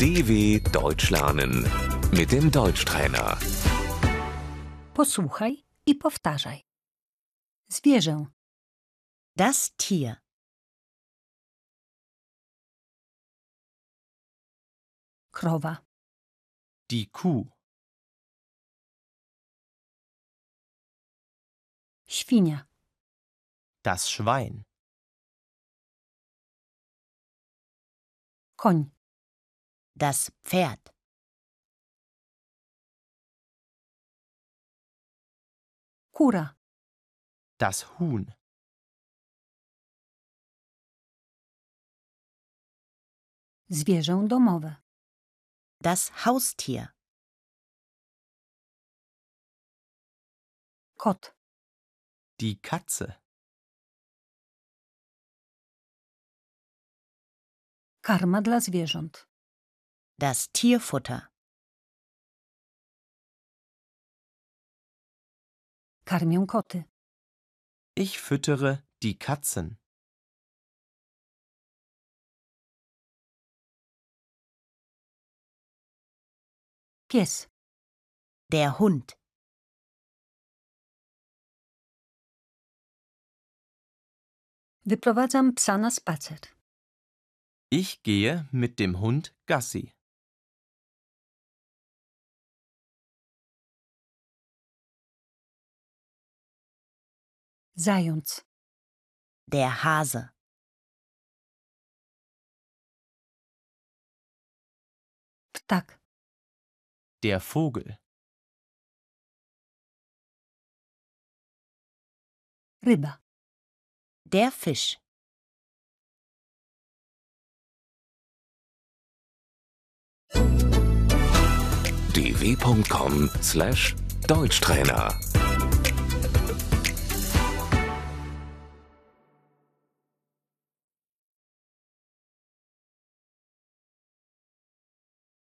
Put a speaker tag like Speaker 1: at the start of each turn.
Speaker 1: DW Deutsch lernen mit dem Deutschtrainer.
Speaker 2: Posłuchaj i powtarzaj. Zwierzę,
Speaker 3: Das Tier.
Speaker 2: krowa,
Speaker 4: Die Kuh.
Speaker 2: świnia,
Speaker 4: Das Schwein.
Speaker 2: koń,
Speaker 3: Das Pferd.
Speaker 2: kura,
Speaker 4: Das Huhn.
Speaker 2: zwierzę domowe,
Speaker 3: Das Haustier.
Speaker 2: kot,
Speaker 4: Die Katze.
Speaker 2: karma dla zwierząt,
Speaker 3: Das Tierfutter.
Speaker 2: karmię koty,
Speaker 4: Ich füttere die Katzen.
Speaker 2: pies,
Speaker 3: Der Hund.
Speaker 2: wyprowadzam psa na spacer,
Speaker 4: Ich gehe mit dem Hund Gassi.
Speaker 2: zając,
Speaker 3: Der Hase.
Speaker 2: ptak,
Speaker 4: Der Vogel.
Speaker 2: ryba,
Speaker 3: Der Fisch.
Speaker 1: dw.com/deutschtrainer